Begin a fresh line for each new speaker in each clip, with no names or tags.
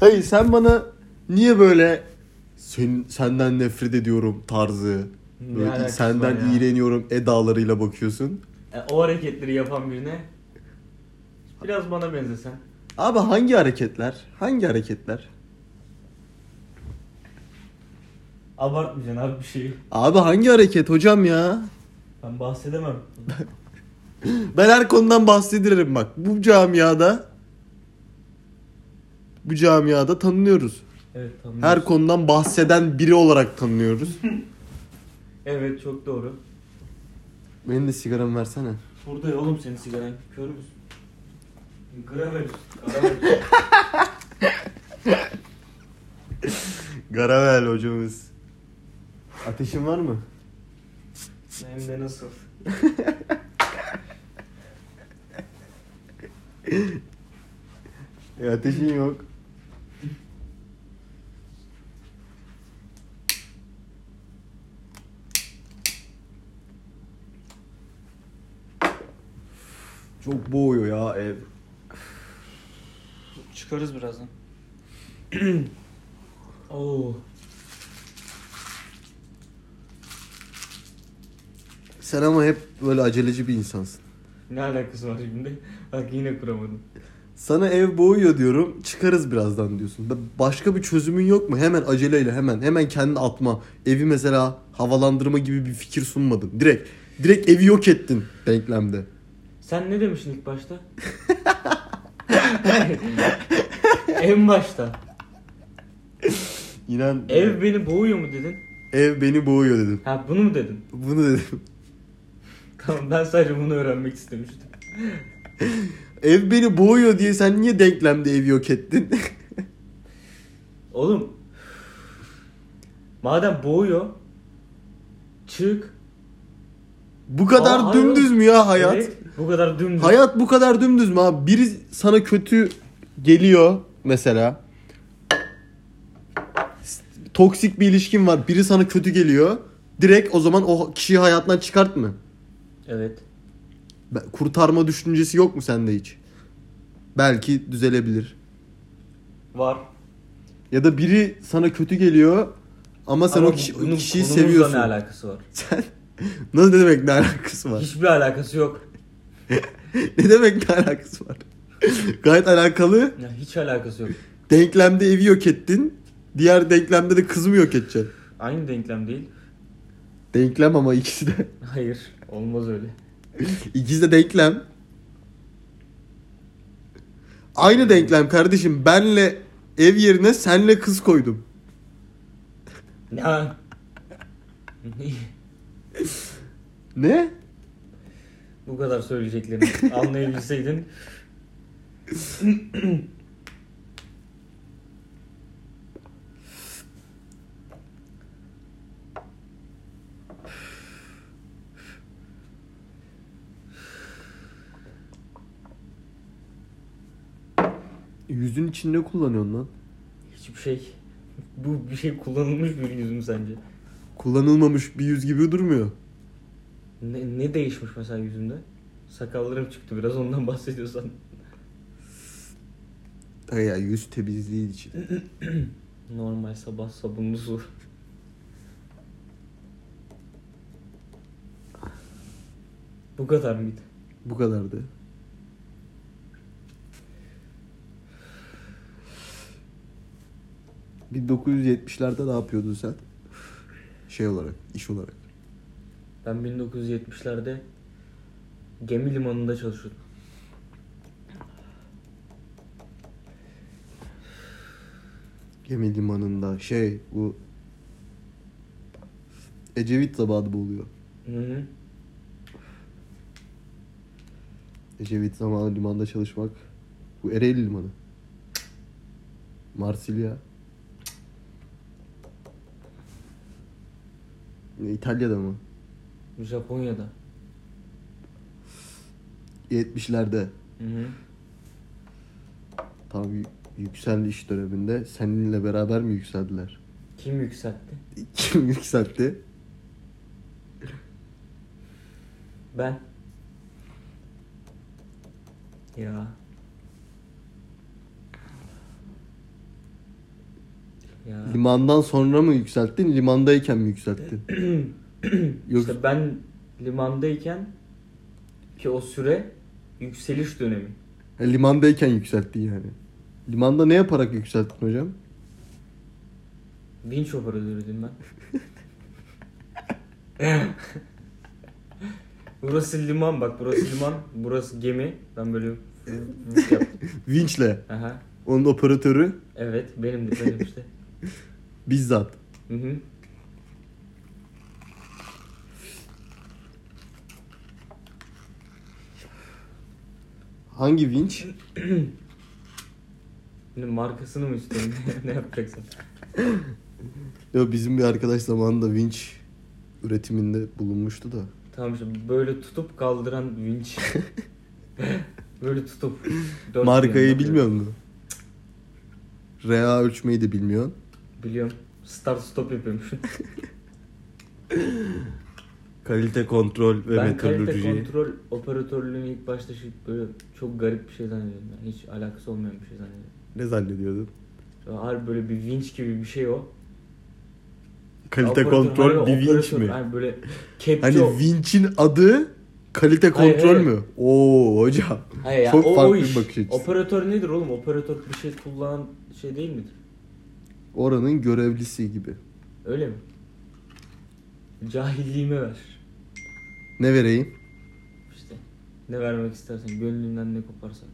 Hayır sen bana niye böyle sen, senden nefret ediyorum tarzı
Ne
böyle
alakası
senden
var ya?
iğreniyorum edalarıyla bakıyorsun.
E, o hareketleri yapan birine biraz bana benzesen.
Abi hangi hareketler? Hangi hareketler?
Abartmayacaksın abi bir şeyi.
Abi hangi hareket hocam ya?
Ben bahsedemem.
Ben her konudan bahsedirim bak. Bu camiada bu camiada tanınıyoruz.
Evet tamam.
Her konudan bahseden biri olarak tanınıyoruz.
Evet çok doğru.
Benim de sigaramı versene.
Burada ya oğlum senin sigaran kör müsün?
Gravel. Gravel.
Garavel hocamız. Ateşin var mı?
Hem de nasıl?
E ateşin yok. Çok boğuyor ya ev.
Çıkarız birazdan.
Oo.
Sen ama hep böyle aceleci bir insansın.
Ne alakası var şimdi? Bak yine kuramadım.
Sana ev boğuyor diyorum. Çıkarız birazdan diyorsun. Ba- Başka bir çözümün yok mu? Hemen aceleyle hemen. Hemen kendini atma. Evi mesela havalandırma gibi bir fikir sunmadın. Direkt. Direkt evi yok ettin denklemde.
Sen ne demiştin ilk başta? en başta.
İnan
Ev beni boğuyor mu dedin?
ev beni boğuyor dedim.
Ha bunu mu dedin?
Bunu dedim.
Tamam ben sadece bunu öğrenmek istemiştim.
Ev beni boğuyor diye sen niye denklemde evi yok ettin?
Oğlum. Madem boğuyor. Çık.
bu kadar
Aa, hayır.
dümdüz mü ya hayat?
Evet, bu kadar dümdüz.
Hayat bu kadar dümdüz mü abi? Biri sana kötü geliyor mesela. S- Toksik bir ilişkin var. Biri sana kötü geliyor. Direkt o zaman o kişiyi hayatından çıkart mı?
Evet.
Be- Kurtarma düşüncesi yok mu sende hiç? Belki düzelebilir.
Var.
Ya da biri sana kötü geliyor ama sen
Ama
o, kişi- o
bunun
kişiyi
konumuzla
seviyorsun.
ne alakası var?
Sen nasıl ne demek ne alakası var?
Hiçbir alakası yok.
ne demek ne alakası var? Gayet alakalı.
Ya hiç alakası yok.
Denklemde evi yok ettin. Diğer denklemde de kızımı yok edeceksin.
Aynı denklem değil.
Denklem ama ikisi de.
Hayır. Olmaz öyle.
İkisi de denklem. Aynı denklem kardeşim. Benle ev yerine senle kız koydum.
Ne?
Ne?
bu kadar söyleyeceklerimi anlayabilseydin.
Yüzün içinde kullanıyorsun lan.
Hiçbir şey. Bu bir şey kullanılmış bir yüzüm sence.
Kullanılmamış bir yüz gibi durmuyor.
Ne, ne değişmiş mesela yüzümde? Sakallarım çıktı biraz ondan bahsediyorsan.
Ha ya yüz temizliği için.
Normal sabah sabunlu su. Bu kadar mıydı?
Bu kadardı. ...1970'lerde ne yapıyordun sen? Şey olarak, iş olarak.
Ben 1970'lerde gemi limanında çalışıyordum.
Gemi limanında şey bu... Ecevit zamanı bu oluyor.
Hı hı.
Ecevit zamanı limanda çalışmak. Bu Ereğli limanı. Marsilya. Ne, İtalya'da mı?
Japonya'da.
70'lerde.
Hı hı.
Tam y- yükseliş döneminde seninle beraber mi yükseldiler?
Kim yükseltti?
Kim yükseltti?
Ben. Ya. Ya.
Limandan sonra mı yükselttin? Limandayken mi yükselttin? Yok.
İşte ben limandayken ki o süre yükseliş dönemi.
Ha, Limandayken yükselttin yani. Limanda ne yaparak yükselttin hocam?
Vinç operatörüydüm ben. burası liman bak burası liman burası gemi ben böyle vuruş yaptım.
Vinç'le.
Aha.
Onun operatörü
Evet benim de benim işte.
bizzat.
Hı hı.
Hangi vinç?
Şimdi markasını mı istiyorsun? ne yapacaksın?
Ya bizim bir arkadaş zamanında vinç üretiminde bulunmuştu da.
Tamam işte böyle tutup kaldıran vinç. böyle tutup. Dört
Markayı
yandan böyle.
bilmiyor musun? Rea ölçmeyi de bilmiyorsun.
Biliyorum. Start stop yapıyormuşum.
Kalite kontrol ve
ben kalite
metrolojiyi.
kontrol operatörlüğünü ilk başta şey böyle çok garip bir şey zannediyordum. Yani hiç alakası olmayan bir şey zannediyordum.
Ne zannediyordun?
Sonra Harbi böyle bir vinç gibi bir şey o.
Kalite
Operatör-
kontrol
harbi
bir vinç
operatör.
mi?
Hani böyle kepçe
Hani vinçin adı kalite
Hayır,
kontrol
hayır.
mü? Oo hocam.
Hayır ya,
çok
o,
farklı
o
bir
iş.
bakış açısı.
Operatör nedir oğlum? Operatör bir şey kullanan şey değil midir?
Oranın görevlisi gibi.
Öyle mi? Cahilliğime ver.
Ne vereyim?
İşte ne vermek istersen gönlünden ne koparsan.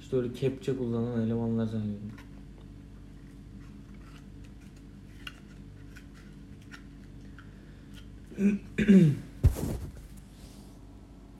İşte öyle kepçe kullanan elemanlar zannediyorum.